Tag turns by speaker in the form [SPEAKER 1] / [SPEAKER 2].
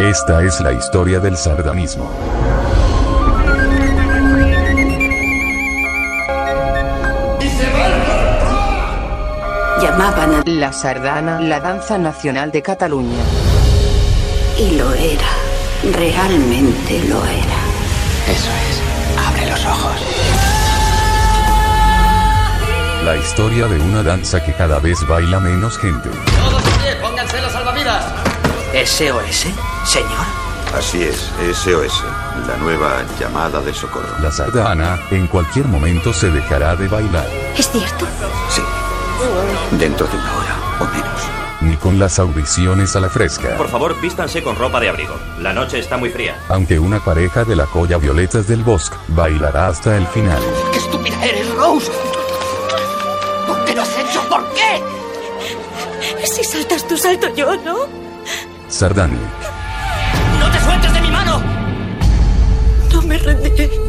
[SPEAKER 1] Esta es la historia del sardanismo.
[SPEAKER 2] Llamaban a...
[SPEAKER 3] La sardana, la danza nacional de Cataluña.
[SPEAKER 2] Y lo era. Realmente lo era.
[SPEAKER 4] Eso es. Abre los ojos.
[SPEAKER 1] La historia de una danza que cada vez baila menos gente.
[SPEAKER 5] Todos de pie, pónganse los salvavidas.
[SPEAKER 4] ¿SOS, señor?
[SPEAKER 6] Así es, SOS, la nueva llamada de socorro.
[SPEAKER 1] La sardana en cualquier momento se dejará de bailar.
[SPEAKER 2] ¿Es cierto?
[SPEAKER 6] Sí. Dentro de una hora o menos.
[SPEAKER 1] Ni con las audiciones a la fresca.
[SPEAKER 7] Por favor, vístanse con ropa de abrigo. La noche está muy fría.
[SPEAKER 1] Aunque una pareja de la colla Violetas del Bosque bailará hasta el final.
[SPEAKER 4] ¡Qué estúpida eres, Rose! ¿Por qué lo has hecho? ¿Por qué?
[SPEAKER 8] Si saltas tú, salto yo, ¿no?
[SPEAKER 1] Sardani,
[SPEAKER 4] ¡No te sueltes de mi mano!
[SPEAKER 8] No me rendiré.